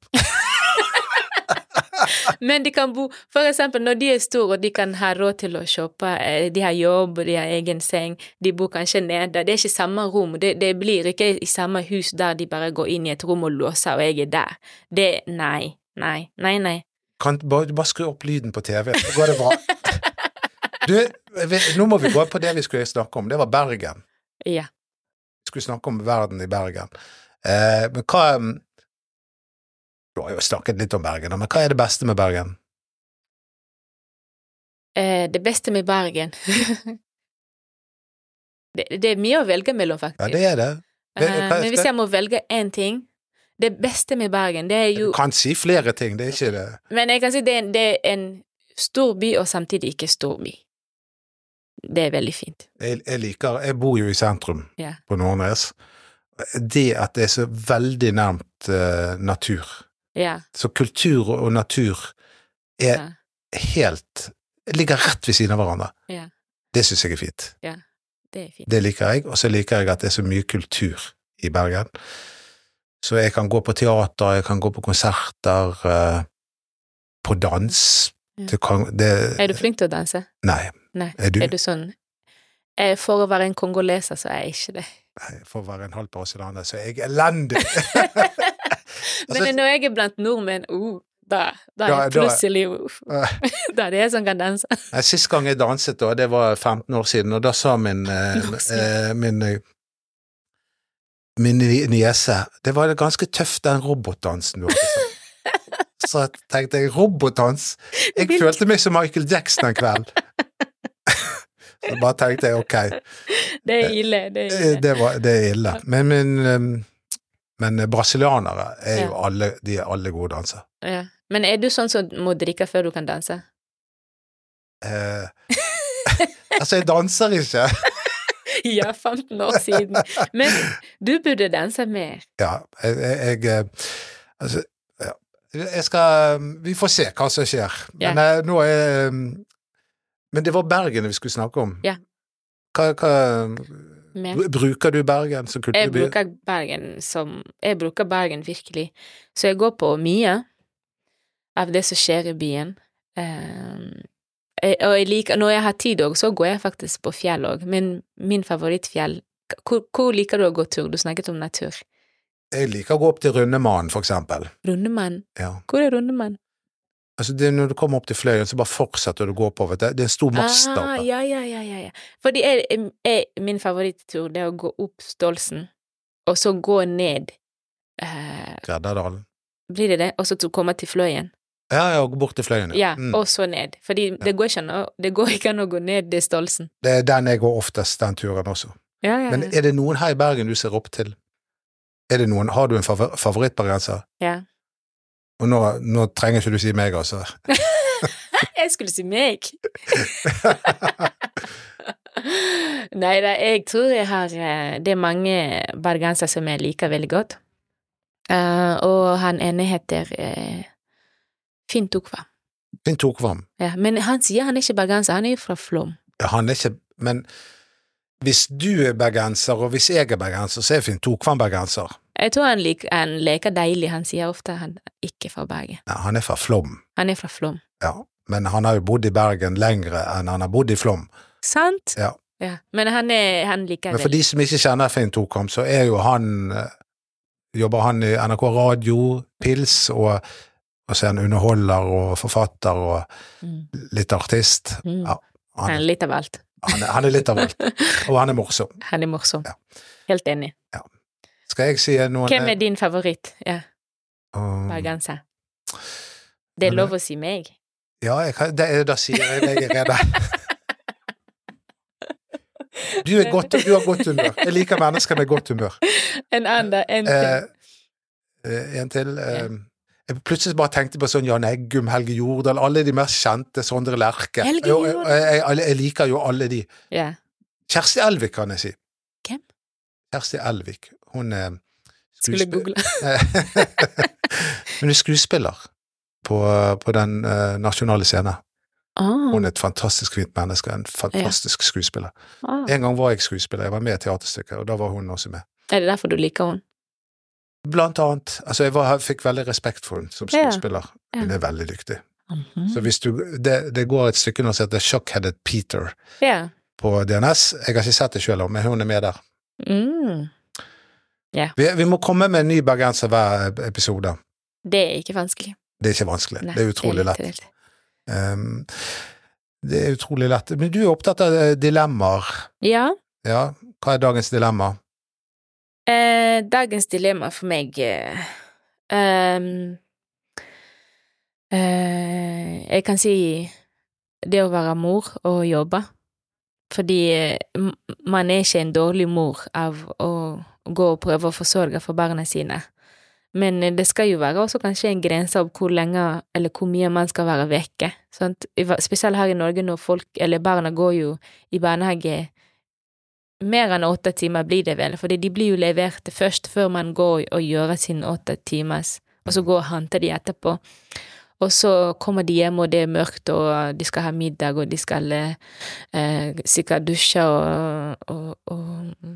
Speaker 2: Men de kan bo For eksempel når de er store og de kan ha råd til å shoppe, eh, de har jobb, de har egen seng, de bor kanskje nede. Det er ikke samme rom. Det, det blir ikke i samme hus der de bare går inn i et rom og låser, og jeg er der. Det Nei. Nei. Nei, nei.
Speaker 1: Kan bare, bare skru opp lyden på TV, så går det bra. Du, vi- nå må vi gå på det vi skulle snakke om. Det var Bergen.
Speaker 2: Ja.
Speaker 1: Vi skulle snakke om verden i Bergen. Eh, men hva um, Du har jo snakket litt om Bergen, men hva er det beste med Bergen?
Speaker 2: Eh, det beste med Bergen det, det er mye å velge mellom, faktisk.
Speaker 1: Ja, det er det. Det-
Speaker 2: Eh,
Speaker 1: hva-
Speaker 2: Men hvis jeg må velge én ting Det beste med Bergen, det er
Speaker 1: Du
Speaker 2: jo
Speaker 1: kan si flere ting, det er ikke det.
Speaker 2: Men jeg kan si det er, en- det er en stor by, og samtidig ikke stor by. Det er veldig fint.
Speaker 1: Jeg, jeg liker Jeg bor jo i sentrum
Speaker 2: Ja.
Speaker 1: på Nordnes. Det at det er så veldig nærmt eh, natur.
Speaker 2: Ja.
Speaker 1: Så kultur og natur
Speaker 2: ja.
Speaker 1: er helt Ligger rett ved siden av hverandre.
Speaker 2: Ja.
Speaker 1: Det syns jeg er fint.
Speaker 2: Det er fint.
Speaker 1: Det liker jeg. Og så liker jeg at det er så mye kultur i Bergen. Så jeg kan gå på teater, jeg kan gå på konserter, eh, på dans.
Speaker 2: Ja.
Speaker 1: Det kan, det,
Speaker 2: Er du flink til å danse?
Speaker 1: Nei.
Speaker 2: Nei.
Speaker 1: Er du?
Speaker 2: Er du sånn Eh, For å være en kongoleser, så er jeg ikke det.
Speaker 1: Nei, For å være en halv brasilianer, så er jeg elendig!
Speaker 2: Men
Speaker 1: Altså-
Speaker 2: når jeg er blant nordmenn, oh, da, da er
Speaker 1: Da-
Speaker 2: jeg
Speaker 1: da-
Speaker 2: plutselig uff.
Speaker 1: Eh.
Speaker 2: Da er det jeg som kan danse.
Speaker 1: Nei, Sist gang jeg danset, da, det var 15 år siden, og da sa min eh,
Speaker 2: År siden.
Speaker 1: eh, min, eh, min ni- niese Det var ganske tøft, den robotdansen du hadde sagt. Så tenkte jeg robotdans Jeg
Speaker 2: Hvilken-
Speaker 1: følte meg som Michael Jackson en kveld. Så bare tenkte jeg ok,
Speaker 2: Det er ille. Det er
Speaker 1: eh,
Speaker 2: ille.
Speaker 1: det, var, det er ille. Men, men, eh, men brasilianere er jo alle, de er alle gode dansere.
Speaker 2: Ja. Men er du sånn som må drikke før du kan danse?
Speaker 1: Eh, altså, jeg danser ikke.
Speaker 2: Ja, 15 år siden. Men du burde danse mer.
Speaker 1: Ja, jeg, jeg, jeg Altså, ja. Jeg skal Vi får se hva som skjer. Men eh, nå er Men det var Bergen vi skulle snakke om.
Speaker 2: Ja.
Speaker 1: Hva, hva
Speaker 2: mer.
Speaker 1: br- Bruker du Bergen som
Speaker 2: Jeg
Speaker 1: kulturby?
Speaker 2: bruker Bergen som Jeg bruker Bergen virkelig. Så jeg går på mye av det som skjer i byen. Ehm, jeg, og jeg liker Når jeg har tid òg, så går jeg faktisk på fjell òg. Men min favorittfjell hvor, hvor liker du å gå tur? Du snakket om natur.
Speaker 1: Jeg liker å gå opp til Rundemannen, for eksempel.
Speaker 2: Rundemann.
Speaker 1: Ja.
Speaker 2: Hvor er Rundemann?
Speaker 1: Altså, det, er når du kommer opp til Fløyen, så bare fortsetter du å gå oppover. Det, det er en stor mast der
Speaker 2: Ah,
Speaker 1: oppe.
Speaker 2: ja, ja, ja, ja, ja. Fordi jeg, jeg- jeg, min favorittur, det er å gå opp Stolsen, og så gå ned eh,
Speaker 1: Greddadalen.
Speaker 2: Blir det det? Og så til- komme til Fløyen.
Speaker 1: Ja, ja, og bort til Fløyen.
Speaker 2: Ja,
Speaker 1: Mm.
Speaker 2: og så ned. Fordi det, går ikke an å, det går ikke an å gå ned det stolsen.
Speaker 1: Det er den jeg går oftest, den turen også.
Speaker 2: Ja, ja,
Speaker 1: Men
Speaker 2: ja.
Speaker 1: er det noen her i Bergen du ser opp til? Er det noen, har du en favor favorittbergenser?
Speaker 2: ja.
Speaker 1: Og nå, nå trenger ikke du si meg, altså.
Speaker 2: Jeg skulle si meg! Nei da, jeg tror jeg har eh, Det er mange bergensere som jeg liker veldig godt. Eh, og han ene heter eh, Finn Tukva.
Speaker 1: Finn Tokvam.
Speaker 2: Ja, men han sier han er ikke bergenser, han er jo fra Flåm.
Speaker 1: Han er ikke Men hvis du er bergenser, og hvis jeg er bergenser, så er Finn Tokvam bergenser.
Speaker 2: Jeg tror han, lik, han leker deilig, han sier ofte han er ikke fra Bergen.
Speaker 1: Nei, han er fra Flåm,
Speaker 2: Han er fra Flåm.
Speaker 1: ja. Men han har jo bodd i Bergen lengre enn han har bodd i Flåm.
Speaker 2: Sant?
Speaker 1: Ja.
Speaker 2: ja. Men han, er, han liker
Speaker 1: Men for de som ikke kjenner Finn Tokvam, så er jo han eh, Jobber han i NRK Radio, Pils, og, og så er han underholder og forfatter og
Speaker 2: Mm.
Speaker 1: litt artist.
Speaker 2: Mm.
Speaker 1: Ja,
Speaker 2: Han er
Speaker 1: Han,
Speaker 2: litt av alt.
Speaker 1: han, er, han er litt av alt. Og han er morsom.
Speaker 2: Han er morsom.
Speaker 1: Ja.
Speaker 2: Helt enig.
Speaker 1: Skal jeg si noen eh,
Speaker 2: Hvem er din favoritt? Ja,
Speaker 1: Um,
Speaker 2: bergenser. Det er
Speaker 1: Men
Speaker 2: lov å si meg.
Speaker 1: Ja, jeg kan, det, da sier jeg meg er redd. Du, er godt, du har godt humør. Jeg liker mennesker med godt humør.
Speaker 2: En annen, en
Speaker 1: Eh,
Speaker 2: til.
Speaker 1: eh, en til. Eh, jeg plutselig bare tenkte på sånn Jan Eggum, Helge Jordal, alle de mest kjente. Sondre Lerche.
Speaker 2: Helge
Speaker 1: Jo, jeg,
Speaker 2: Jordal.
Speaker 1: jeg, jeg, jeg liker jo alle de.
Speaker 2: Ja.
Speaker 1: Kjersti Elvik, kan jeg si.
Speaker 2: Hvem?
Speaker 1: Kjersti Elvik. Hun er
Speaker 2: Skulle
Speaker 1: skuespi-
Speaker 2: google.
Speaker 1: Hun er Eh, skuespiller på, på den eh, nasjonale scenen.
Speaker 2: Ah,
Speaker 1: Hun er et fantastisk fint menneske, en fantastisk skuespiller.
Speaker 2: ah.
Speaker 1: En gang var jeg skuespiller, jeg var med i teaterstykket, og da var hun også med.
Speaker 2: Er det derfor du liker henne?
Speaker 1: Blant annet. Altså, jeg, var, jeg fikk veldig respekt for henne som
Speaker 2: Ja.
Speaker 1: skuespiller.
Speaker 2: Ja.
Speaker 1: Hun er veldig dyktig.
Speaker 2: Mhm.
Speaker 1: Så hvis du Det, det går et stykke nå som heter Shockheaded Peter
Speaker 2: Ja.
Speaker 1: på DNS. Jeg har ikke sett det sjøl, men hun er med der.
Speaker 2: Mm.
Speaker 1: Vi, vi må komme med en ny bergenser hver episode.
Speaker 2: Det er ikke vanskelig.
Speaker 1: Det er ikke vanskelig.
Speaker 2: Nei,
Speaker 1: det er utrolig
Speaker 2: litt
Speaker 1: lett.
Speaker 2: rett.
Speaker 1: Um, det er utrolig lett. Men du er opptatt av eh, dilemmaer.
Speaker 2: Ja.
Speaker 1: Ja, hva er dagens dilemma?
Speaker 2: Eh, dagens dilemma for meg eh, ehm, eh, Jeg kan si det å være mor og jobbe. Fordi m- man er ikke en dårlig mor av å gå og prøve å forsørge for barna sine. Men eh, det skal jo være også kanskje en grense av hvor lenge eller hvor mye man skal være vekke. Sant? I hva- Spesielt her i Norge når folk, eller barna går jo i barnehage mer enn åtte timer blir det vel, fordi de blir jo levert først før man går og gjør sine åtte timers, og så går og henter de etterpå. Og så kommer de hjem, og det er mørkt, og de skal ha middag, og de skal eh, eh, sikkert dusje og, og, og,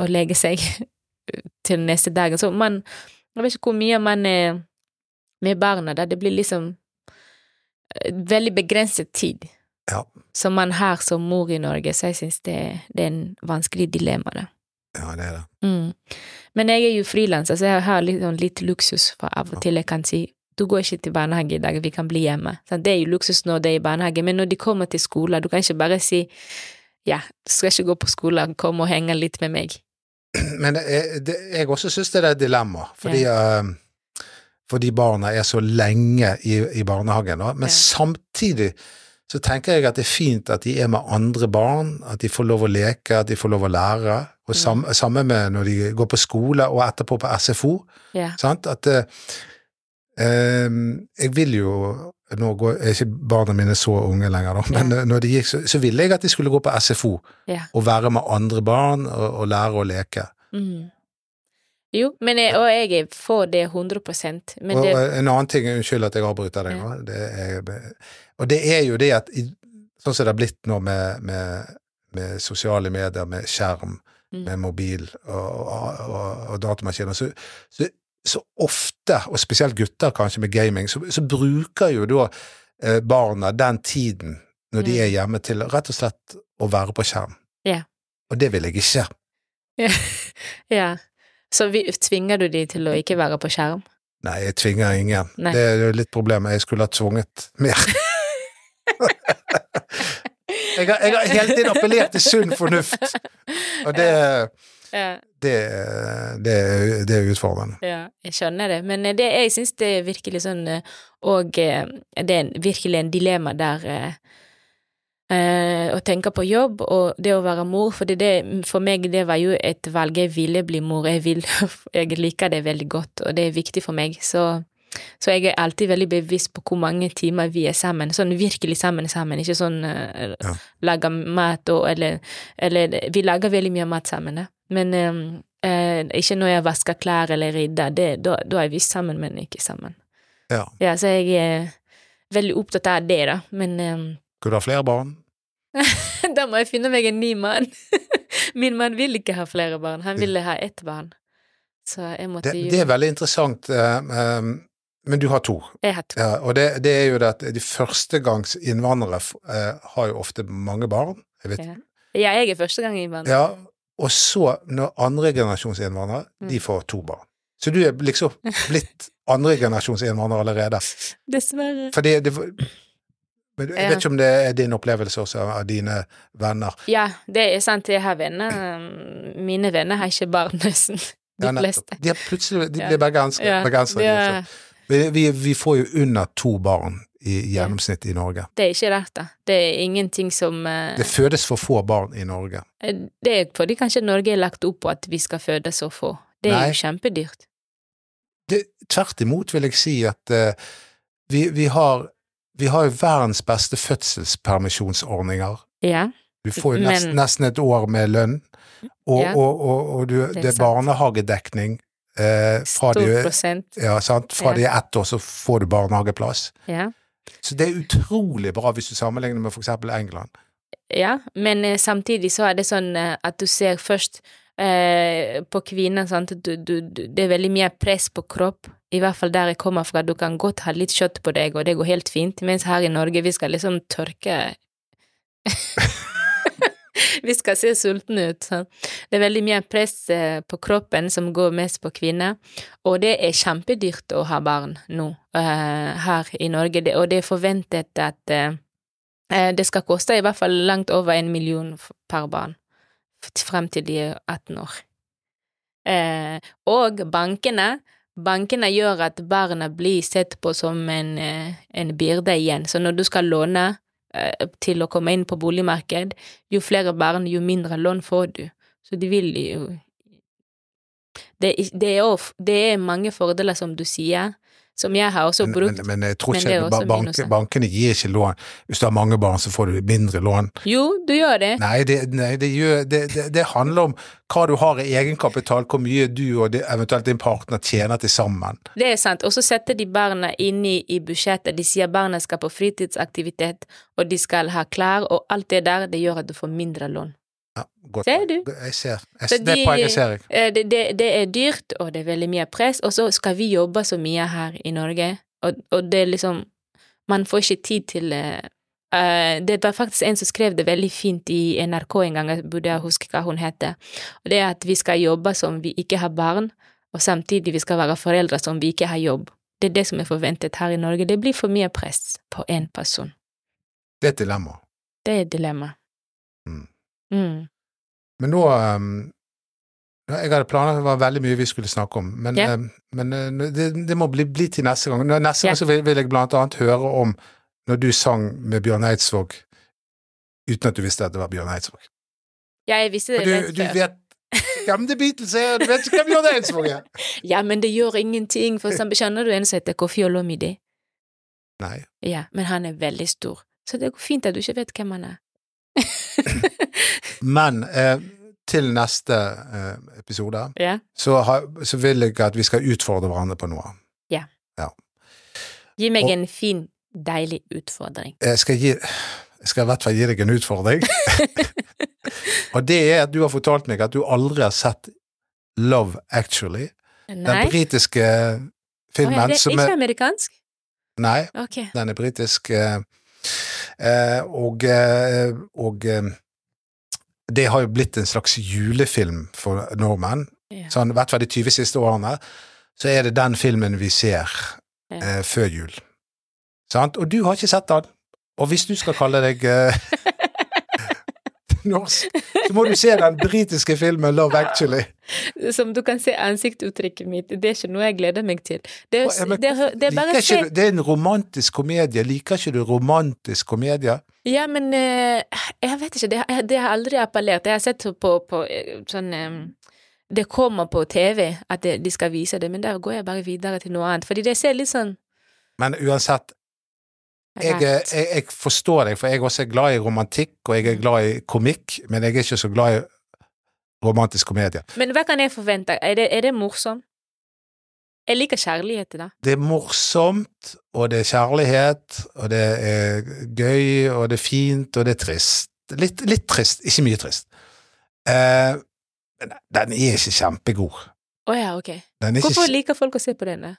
Speaker 2: og legge seg til neste dag. Så man Jeg vet ikke hvor mye man er med barna, da. Det blir liksom eh, veldig begrenset tid
Speaker 1: Ja.
Speaker 2: som man har som mor i Norge, så jeg syns det, det er en vanskelig dilemma, da.
Speaker 1: Ja, det er det.
Speaker 2: Mm. Men jeg er jo frilanser, så jeg har litt, sånn litt luksus for av og til jeg kan si du går ikke til barnehage i dag, vi kan bli hjemme. Sant? det er jo luksus når det er i barnehage, men når de kommer til skolen, du kan ikke bare si ja, du skal ikke gå på skolen, kom og henge litt med meg.
Speaker 1: Men jeg, det, jeg også syns det er et dilemma, fordi, eh, fordi barna er så lenge i, i barnehagen. Da. Men
Speaker 2: Ja.
Speaker 1: samtidig så tenker jeg at det er fint at de er med andre barn, at de får lov å leke, at de får lov å lære.
Speaker 2: Mm.
Speaker 1: Og sam, samme med når de går på skole og etterpå på SFO.
Speaker 2: Ja.
Speaker 1: Sant? At eh, ehm, Jeg vil jo Nå går, er ikke barna mine så unge lenger, da, men eh, når de gikk, så, så ville jeg at de skulle gå på SFO
Speaker 2: Ja.
Speaker 1: og være med andre barn og, og lære å leke.
Speaker 2: Mm. Jo, men jeg, og jeg er for det 100 men
Speaker 1: Og,
Speaker 2: det
Speaker 1: og en annen ting, unnskyld at jeg avbryter deg nå, det er, og det er jo det at i, sånn som det har blitt nå med, med, med sosiale medier, med skjerm,
Speaker 2: Mm.
Speaker 1: med mobil og, og, og, og datamaskiner, så, så, så ofte, og spesielt gutter kanskje med gaming, så, så bruker jo da eh, barna den tiden når de
Speaker 2: Mm.
Speaker 1: er hjemme til rett og slett å være på skjerm.
Speaker 2: Ja.
Speaker 1: Og det vil jeg ikke.
Speaker 2: Ja. Så vi, tvinger du de til å ikke være på skjerm?
Speaker 1: Nei, jeg tvinger ingen.
Speaker 2: Nei.
Speaker 1: Det er jo litt problemet. Jeg skulle ha tvunget mer. jeg, har, jeg har hele tiden appellert til sunn fornuft, og det,
Speaker 2: Ja.
Speaker 1: det, det, det er utfordrende.
Speaker 2: Ja, jeg skjønner det, men eh, det, jeg syns det er virkelig sånn eh, Og eh, det er en, virkelig en dilemma der eh, eh, å tenke på jobb og det å være mor, for det, det, for meg det var jo et valg. Jeg ville bli mor, jeg, vil, jeg liker det veldig godt, og det er viktig for meg. Så, så jeg er alltid veldig bevisst på hvor mange timer vi er sammen, sånn virkelig sammen sammen, ikke sånn eh,
Speaker 1: Ja.
Speaker 2: lage mat og eller, eller Vi lager veldig mye mat sammen, da. men eh, Eh, ikke når jeg vasker klær eller rydder, det- da da er vi sammen, men ikke sammen.
Speaker 1: Ja.
Speaker 2: Ja, så jeg er veldig opptatt av det, da, men eh,
Speaker 1: Skulle du ha flere barn?
Speaker 2: da må jeg finne meg en ny mann. Min mann vil ikke ha flere barn, han ville ha ett barn. Så jeg måtte
Speaker 1: Det,
Speaker 2: jo
Speaker 1: det er veldig interessant, eh, eh, men du har to.
Speaker 2: Jeg har to.
Speaker 1: Ja, og det, det er jo det at de førstegangs innvandrere eh, har jo ofte mange barn. Jeg vet,
Speaker 2: Ja. Ja, jeg er første gang innvandrer.
Speaker 1: Ja, og så, når andregenerasjonsinnvandrere,
Speaker 2: Mm.
Speaker 1: de får to barn. Så du er liksom blitt andregenerasjonsinnvandrer allerede.
Speaker 2: Dessverre.
Speaker 1: For det, det men jeg
Speaker 2: Ja.
Speaker 1: vet ikke om det er din opplevelse også av dine venner.
Speaker 2: Ja, det er sant, jeg har venner. eh, Mine venner har ikke barn, nesten. De
Speaker 1: Ja, nettopp.
Speaker 2: fleste.
Speaker 1: De er plutselig de
Speaker 2: Ja.
Speaker 1: blir bergensere.
Speaker 2: Ja,
Speaker 1: bergensere de
Speaker 2: det er-
Speaker 1: også. vi, vi, vi får jo under to barn i gjennomsnitt i Norge.
Speaker 2: det er ikke rart, da. Det er ingenting som eh,
Speaker 1: Det fødes for få barn i Norge.
Speaker 2: Det er fordi kanskje Norge er lagt opp på at vi skal føde så få. Det er
Speaker 1: Nei.
Speaker 2: jo kjempedyrt.
Speaker 1: det, tvert imot vil jeg si at eh, vi, vi har vi har jo verdens beste fødselspermisjonsordninger.
Speaker 2: Ja.
Speaker 1: Du får jo nesten,
Speaker 2: Men-
Speaker 1: nesten et år med lønn, og,
Speaker 2: Ja.
Speaker 1: og, og, og du, det
Speaker 2: er
Speaker 1: er
Speaker 2: sant.
Speaker 1: barnehagedekning eh, fra,
Speaker 2: Stor
Speaker 1: de,
Speaker 2: prosent.
Speaker 1: ja, sant? fra
Speaker 2: Ja.
Speaker 1: de er ett år, så får du barnehageplass.
Speaker 2: Ja.
Speaker 1: Så det er utrolig bra hvis du sammenligner med f.eks. England.
Speaker 2: ja. Men eh, samtidig så er det sånn eh, at du ser først eh, på kvinner, sant, du, du, du, det er veldig mye press på kropp. I hvert fall der jeg kommer fra, du kan godt ha litt kjøtt på deg, og det går helt fint, mens her i Norge, vi skal liksom tørke Vi skal se sultne ut. sant? Det er veldig mye press eh, på kroppen som går mest på kvinner, og det er kjempedyrt å ha barn nå eh, her i Norge, det, og det er forventet at eh, eh, det skal koste i hvert fall langt over en million f- per barn f- frem til de er 18 år. Eh, og bankene Bankene gjør at barna blir sett på som en, eh, en byrde igjen, så når du skal låne eh, til å komme inn på boligmarked, jo flere barn, jo mindre lån får du. Så de vil jo Det, er ikke- det, er, of- det er mange fordeler, som du sier, som jeg har også
Speaker 1: Men,
Speaker 2: brukt.
Speaker 1: men, men jeg tror
Speaker 2: Men det er
Speaker 1: ikke
Speaker 2: også
Speaker 1: ba- bank,
Speaker 2: minuset.
Speaker 1: bankene gir ikke lån. Hvis du har mange barn, så får du mindre lån.
Speaker 2: Jo, du gjør det.
Speaker 1: Nei, det, nei det, gjør, det, det, det handler om hva du har i egenkapital, hvor mye du og det, eventuelt din partner tjener til sammen.
Speaker 2: Det er sant. Og så setter de barna inni i budsjettet. De sier barna skal på fritidsaktivitet, og de skal ha klær, og alt det der, det gjør at du får mindre lån.
Speaker 1: Ja, godt.
Speaker 2: Ser du?
Speaker 1: Jeg ser. Jeg,
Speaker 2: Så
Speaker 1: det
Speaker 2: de-
Speaker 1: poenget ser jeg.
Speaker 2: Eh, Det, det, det er dyrt, og det er veldig mye press, og så skal vi jobbe så mye her i Norge, og, og det er liksom Man får ikke tid til eh, eh, Det var faktisk en som skrev det veldig fint i NRK en gang, jeg burde jeg huske hva hun heter, og det er at vi skal jobbe som vi ikke har barn, og samtidig vi skal være foreldre som vi ikke har jobb. Det er det som er forventet her i Norge. Det blir for mye press på én person.
Speaker 1: Det er et dilemma.
Speaker 2: Det er dilemmaet.
Speaker 1: Mm.
Speaker 2: Mm.
Speaker 1: Men nå um, ja, Jeg hadde planer, det var veldig mye vi skulle snakke om, men,
Speaker 2: Ja.
Speaker 1: um, men uh, det, det må bli, bli til neste gang. Nå- Neste
Speaker 2: Ja.
Speaker 1: gang så vil, vil jeg blant annet høre om når du sang med Bjørn Eidsvåg uten at du visste at det var Bjørn Eidsvåg.
Speaker 2: Ja, jeg visste det
Speaker 1: Du,
Speaker 2: rett
Speaker 1: du
Speaker 2: før.
Speaker 1: vet ja, men det er Beatles, jeg, du vet ikke hvem Bjørn Eidsvåg er!
Speaker 2: Ja, men det gjør ingenting, for eksempel, kjenner du en som heter Kofi Olomide?
Speaker 1: Nei.
Speaker 2: Ja, men han er veldig stor, så det går fint at du ikke vet hvem han er.
Speaker 1: Men eh, til neste eh, episode
Speaker 2: Ja.
Speaker 1: så, har, så vil jeg at vi skal utfordre hverandre på noe.
Speaker 2: Gi meg
Speaker 1: Og-
Speaker 2: en fin, deilig utfordring.
Speaker 1: Jeg skal, gi, jeg skal i hvert fall gi deg en utfordring. og det er at du har fortalt meg at du aldri har sett Love Actually. Den
Speaker 2: Nei?
Speaker 1: britiske
Speaker 2: Å ja,
Speaker 1: filmen
Speaker 2: det er
Speaker 1: som
Speaker 2: ikke
Speaker 1: er
Speaker 2: amerikansk?
Speaker 1: Nei,
Speaker 2: Ok.
Speaker 1: den er britisk. eh, eh, og eh, og eh, det har jo blitt en slags julefilm for nordmenn.
Speaker 2: Ja.
Speaker 1: Sånn, I hvert fall de 20 siste årene. Så er det den filmen vi ser
Speaker 2: Ja.
Speaker 1: eh, før jul. Sant? Og du har ikke sett den. Og hvis du skal kalle deg eh, norsk, så må du se den britiske filmen Love Actually.
Speaker 2: Som du kan se ansiktsuttrykket mitt, det er ikke noe jeg gleder meg til. Det
Speaker 1: Å, ja,
Speaker 2: er,
Speaker 1: men
Speaker 2: det er, det er bare
Speaker 1: Liker
Speaker 2: å se
Speaker 1: ikke du, det er en romantisk komedie. Liker ikke du romantisk komedie?
Speaker 2: Ja, men eh, jeg vet ikke, det, har- det har aldri appellert. Jeg har sett på, på eh, sånn eh, Det kommer på TV at det, de skal vise det, men der går jeg bare videre til noe annet. Fordi det ser litt sånn
Speaker 1: Men uansett, jeg, eh,
Speaker 2: Nei.
Speaker 1: jeg, jeg forstår deg, for jeg også er glad i romantikk, og jeg er glad i komikk, men jeg er ikke så glad i romantisk komedie.
Speaker 2: Men hva kan jeg forvente? Er det, er det morsom? Jeg liker kjærlighet, da.
Speaker 1: Det er morsomt, og det er kjærlighet, og det er gøy, og det er fint, og det er trist. Litt, litt trist, ikke mye trist. Eh, men den er ikke kjempegod.
Speaker 2: Å ja, ok.
Speaker 1: Den er
Speaker 2: Hvorfor
Speaker 1: ikke,
Speaker 2: liker folk å se på den? da?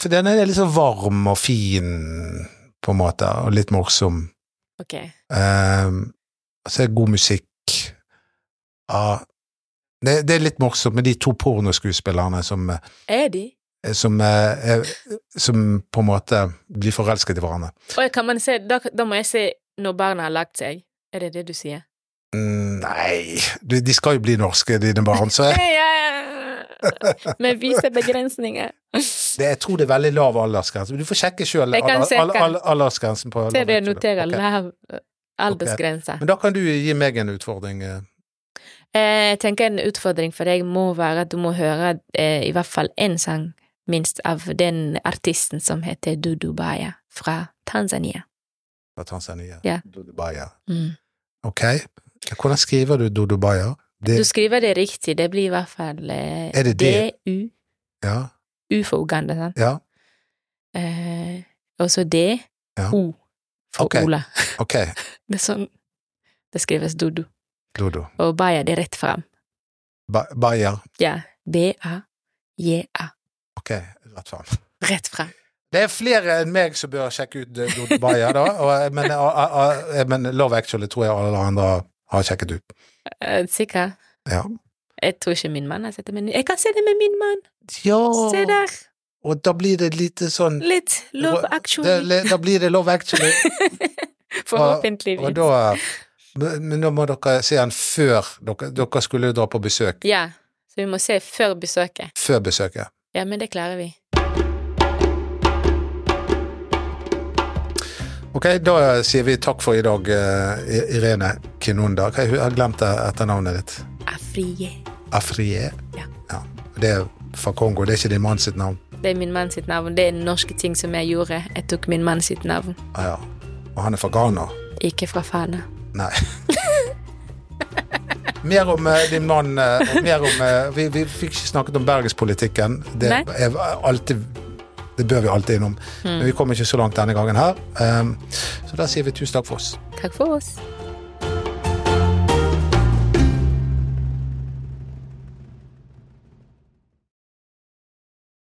Speaker 1: for den er litt sånn varm og fin, på en måte, og litt morsom.
Speaker 2: Ok.
Speaker 1: Um, så er det god musikk. Ja, det, det er litt morsomt med de to pornoskuespillerne som,
Speaker 2: Er de?
Speaker 1: som, eh, er- som på en måte blir forelsket i hverandre.
Speaker 2: Å, kan man se, da, da må jeg se når barna har lagt seg. Er det det du sier?
Speaker 1: Mm, Nei, de, de skal jo bli norske, dine barn, så jeg,
Speaker 2: Ja. Med visse begrensninger.
Speaker 1: det, jeg tror det er veldig lav aldersgrense. Du får sjekke sjøl
Speaker 2: Jeg kan se-
Speaker 1: aldersgrensen. på
Speaker 2: Se, det noterer
Speaker 1: Ok.
Speaker 2: lav eh, aldersgrense.
Speaker 1: Men da kan du gi meg en utfordring. eh.
Speaker 2: Eh, Jeg tenker en utfordring for deg må være at du må høre eh, i hvert fall én sang, minst, av den artisten som heter Dudu Baya fra Tanzania.
Speaker 1: fra Tanzania.
Speaker 2: Ja.
Speaker 1: Dodobaya.
Speaker 2: Mm.
Speaker 1: Ok. Hvordan skriver du Dodobaya? Det,
Speaker 2: Du skriver det riktig, det blir i hvert fall eh,
Speaker 1: Er det det?
Speaker 2: DU.
Speaker 1: ja,
Speaker 2: U for Uganda, sant?
Speaker 1: ja,
Speaker 2: Eh, og så D.
Speaker 1: Ja.
Speaker 2: O for
Speaker 1: Ok.
Speaker 2: Ola.
Speaker 1: ok.
Speaker 2: Det er sånn det skrives Dodo.
Speaker 1: Dodo.
Speaker 2: Og Baya, det er rett fram.
Speaker 1: Ba Bayer.
Speaker 2: Ja. B-a-j-a.
Speaker 1: Ok, rett fram.
Speaker 2: Rett fram.
Speaker 1: Det er flere enn meg som bør sjekke ut eh, Dodo Bayer, da. Og, men, eh, eh, eh, men Love Actually tror jeg alle andre har sjekket ut.
Speaker 2: Eh, Sikker?
Speaker 1: Ja.
Speaker 2: Jeg tror ikke min mann har sett det, men jeg kan se det med min mann!
Speaker 1: ja.
Speaker 2: Se der!
Speaker 1: Og da blir det lite sånn
Speaker 2: Litt Love
Speaker 1: det,
Speaker 2: Actually.
Speaker 1: le- Da blir det Love Actually. Og
Speaker 2: Forhåpentligvis.
Speaker 1: da men men da må dere se den før dere, dere skulle jo dra på besøk.
Speaker 2: Ja. Så vi må se før besøket.
Speaker 1: Før besøket.
Speaker 2: Ja, men det klarer vi.
Speaker 1: Ok, da sier vi takk for i dag, eh, I- Irene Kinunda. Hva- Jeg har glemt etternavnet ditt.
Speaker 2: Afrie.
Speaker 1: Afrié?
Speaker 2: Ja.
Speaker 1: ja. Det er fra Kongo, det er ikke din mann sitt navn?
Speaker 2: Det er min mann sitt navn. Det er norske ting som jeg gjorde. Jeg tok min mann sitt navn,
Speaker 1: Ah, ja. Og han er fra Ghana?
Speaker 2: ikke fra Fana.
Speaker 1: Nei. Mer om eh, din mann eh, og mer om, eh, vi, vi fikk ikke snakket om bergenspolitikken. Det,
Speaker 2: Nei.
Speaker 1: er alltid, det bør vi alltid innom. Men vi kom ikke så langt denne gangen her. Um, så da Ehm, sier vi tusen takk for oss.
Speaker 2: Takk for oss.